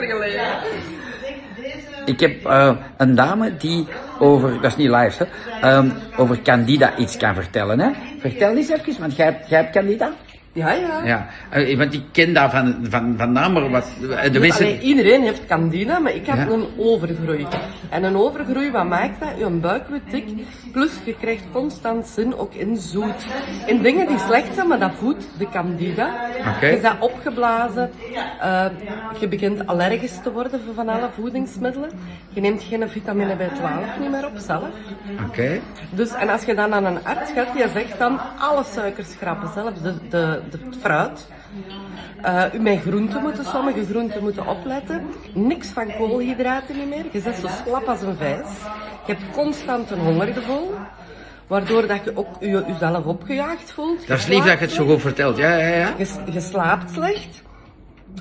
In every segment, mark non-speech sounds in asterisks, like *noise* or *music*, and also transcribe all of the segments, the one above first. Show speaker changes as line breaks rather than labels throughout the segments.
geleden.
Ik heb eh, een dame die over, dat is niet live, hè, ehm, over Candida iets kan vertellen. Hè? Vertel eens even, want jij, hebt- jij hebt Candida?
Ja, ja.
Ja, eh, want ik ken daar van, van, van naam, maar wat, eh, de
Dus
mensen...
allee, iedereen heeft candida, maar ik heb
Ja.
een overgroei. En een overgroei, wat maakt dat? Je buik wordt dik, plus je krijgt constant zin ook in zoet. In dingen die slecht zijn, maar dat voedt de candida.
Oké.
Je bent opgeblazen, eh, je begint allergisch te worden voor van alle voedingsmiddelen. Je neemt geen vitamine B12 niet meer op zelf.
Oké.
Dus, en als je dan aan een arts gaat, die zegt dan alle suikers schrappen, zelfs de, de, de het fruit. Eh, met groenten moeten, sommige groenten moeten opletten. Niks van koolhydraten niet meer. Je zit zo slap als een vijs. Je hebt constant een hongergevoel. Waardoor dat je ook je, jezelf opgejaagd voelt.
Dat is lief dat je het zo goed vertelt. Ja, ja, ja.
Je, je slaapt slecht.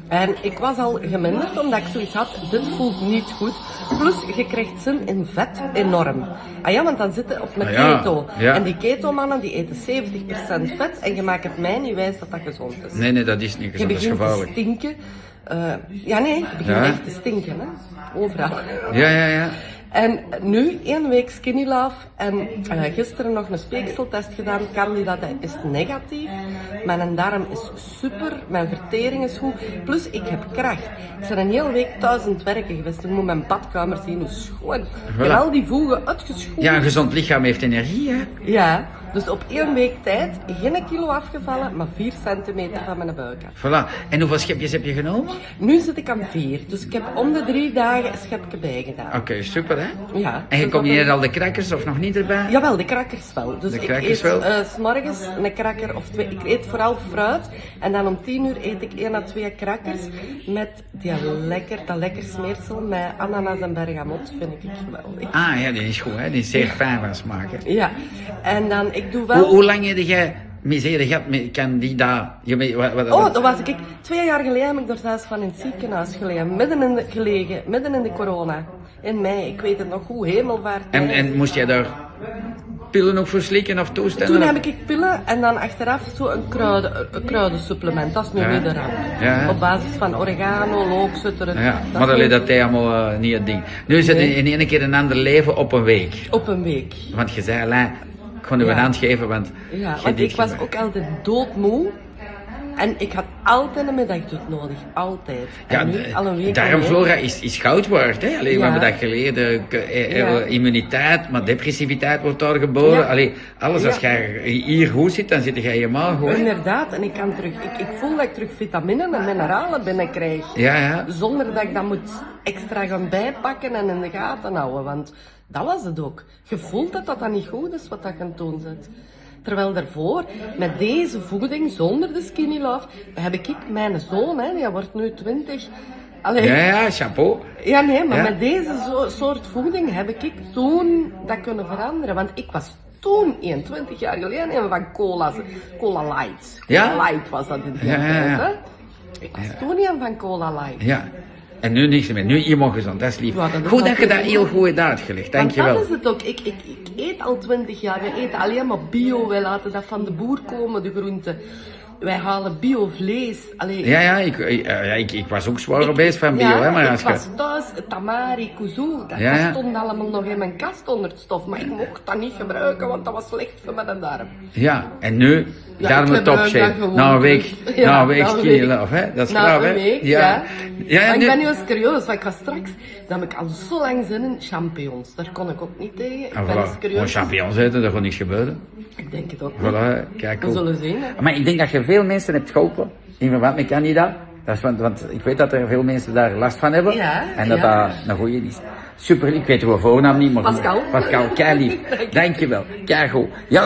En ik was al geminderd omdat ik zoiets had, dit voelt niet goed. Plus, je krijgt zin in vet enorm. Ah ja, want dan zitten op met
Ah ja,
keto.
ja.
En die keto-mannen die eten 70% vet en je maakt het mij niet wijs dat dat gezond is.
Nee, nee, dat is niet
je
gezond. Dat is
begint te
gevaarlijk.
stinken. Eh, ja, nee, je begint
Ja.
echt te stinken, hè. Overal.
Ja, ja, ja.
En nu één week skinny love en eh, gisteren nog een speekseltest gedaan. Candida dat is negatief. Mijn darm is super, mijn vertering is goed. Plus ik heb kracht. Ik ben een hele week thuis aan het werken geweest. Ik moet mijn badkamer zien, hoe schoon. Ik ben al die voegen uitgeschoten.
Ja, een gezond lichaam heeft energie, hè.
Ja, dus op één week tijd geen kilo afgevallen, maar 4 centimeter van mijn buik af.
Voilà. En hoeveel schepjes heb je genomen?
Nu zit ik aan 4, dus ik heb om de drie dagen een
Oké,
schepje bijgedaan.
super, hè.
Ja,
Ah. En je
dus dat
combineert
is-
al de crackers of nog niet erbij?
Jawel, de krakkers wel. Dus
De
ik
krakkers
eet
wel?
eh, 's s'morgens een krakker of twee. Ik eet vooral fruit. En dan om tien uur eet ik één à twee krakkers met die lekker, dat lekker smeersel met ananas en bergamot. Vind ik geweldig.
Ah, ja, die is goed, hè. Die is zeer fijn van smaak, hè.
Ja, en dan ik doe
Hoe,
wel...
hoe lang heb jij misere gehad met Candida? Je, weet- wat, wat,
Oh,
wat-
dat was ik. Twee jaar geleden heb ik er zelfs van in het ziekenhuis gelegen. Midden in de, gelegen, midden in de corona. In mei, ik weet het nog goed, hemelvaart. eh,
en, en moest jij daar pillen ook voor slikken of toestellen?
Toen heb ik pillen en dan achteraf zo'n kruiden, een kruidensupplement. Dat is nu
Ja.
weer de ramp.
Ja.
Op basis van oregano, loopzutteren.
Ja, maar dat
is nu
is dat helemaal eh, niet het ding. Nu is het
Nee.
in, in één keer een ander leven op een week.
Op een week.
Want je zei, Alain, ik ga nu
Ja.
een hand geven, want...
Ja,
je
want
dik
ik was
bent.
ook altijd doodmoe. En ik had altijd een middagdut nodig. Altijd. En
Ja,
nu
de-
al een week. alleen.
darmflora is, is goud waard. Hè? Allee,
Ja.
We hebben dat geleden. k- eh, eh,
Ja.
Immuniteit, maar depressiviteit wordt daar geboren.
Ja.
Allee, alles, als
Ja.
jij hier goed zit, dan zit jij helemaal goed. hè.
Inderdaad. En ik kan terug... Ik, ik voel dat ik terug vitaminen en mineralen binnenkrijg.
Ja, ja.
Zonder dat ik dat moet extra gaan bijpakken en in de gaten houden. Want dat was het ook. Je voelt dat dat dan niet goed is wat dat je aan het doen bent. Terwijl daarvoor, met deze voeding, zonder de skinny love, heb ik ik mijn zoon, hè, die wordt nu 20. Allee,
Ja,
ja.
ja, chapeau.
nee, maar
Ja.
met deze zo- soort voeding heb ik ik toen dat kunnen veranderen. Want ik was toen 21 jaar geleden een van cola's, cola light.
Ja?
Cola light was dat in die
Ja, ja, ja.
tijd, hè. Ik was toen een van cola light.
Ja. En nu niks meer. Nu iemand gezond, dat is lief.
Ja, dat is
goed dat je dat
natuurlijk
heel
goed.
goed hebt uitgelegd. Dank je
Want dat
wel.
is het ook. Ik, ik, ik eet al twintig jaar. We eten alleen maar bio. Wij laten dat van de boer komen, de groenten. Wij halen bio vlees. Allee,
Ja, ja, ik, eh, ja, ik, ik was ook zwaar
ik-
op bezig van bio,
ja,
hè, maar als
ik
je-
was thuis, tamari, kuzu, dat,
Ja,
dat
ja.
stond allemaal nog in mijn kast onder het stof. Maar ik mocht dat niet gebruiken, want dat was slecht voor mijn darm.
Ja, en nu
Ja,
daar
ik
met
gebruik dat
topshape.
gewoon
Na een Nou, week,
terug.
na
*laughs* Ja,
een week
na een
skinny
week.
love, hè? Dat is
Na
graaf,
een
hè?
week,
ja.
ja.
ja
maar
nu...
ik ben nu eens curieus, want ik was straks, dan heb ik al zo lang zin in champignons. Daar kon ik ook niet tegen. Ik
Ah,
ben
voilà.
eens
Gewoon
curieus.
champignons eten, daar gaat niks gebeuren.
Ik denk het ook. niet.
Voilà, kijk
We
hoe.
zullen zien. hè.
Maar ik denk dat je veel mensen hebt geholpen in verband met Candida. Dat is, want, want ik weet dat er veel mensen daar last van hebben.
Ja,
en dat
ja.
dat een goeie is. Super, ik weet uw voornaam niet, maar...
Pascal. *laughs*
Pascal, kei lief. Dankjewel. Kei goed. Ja,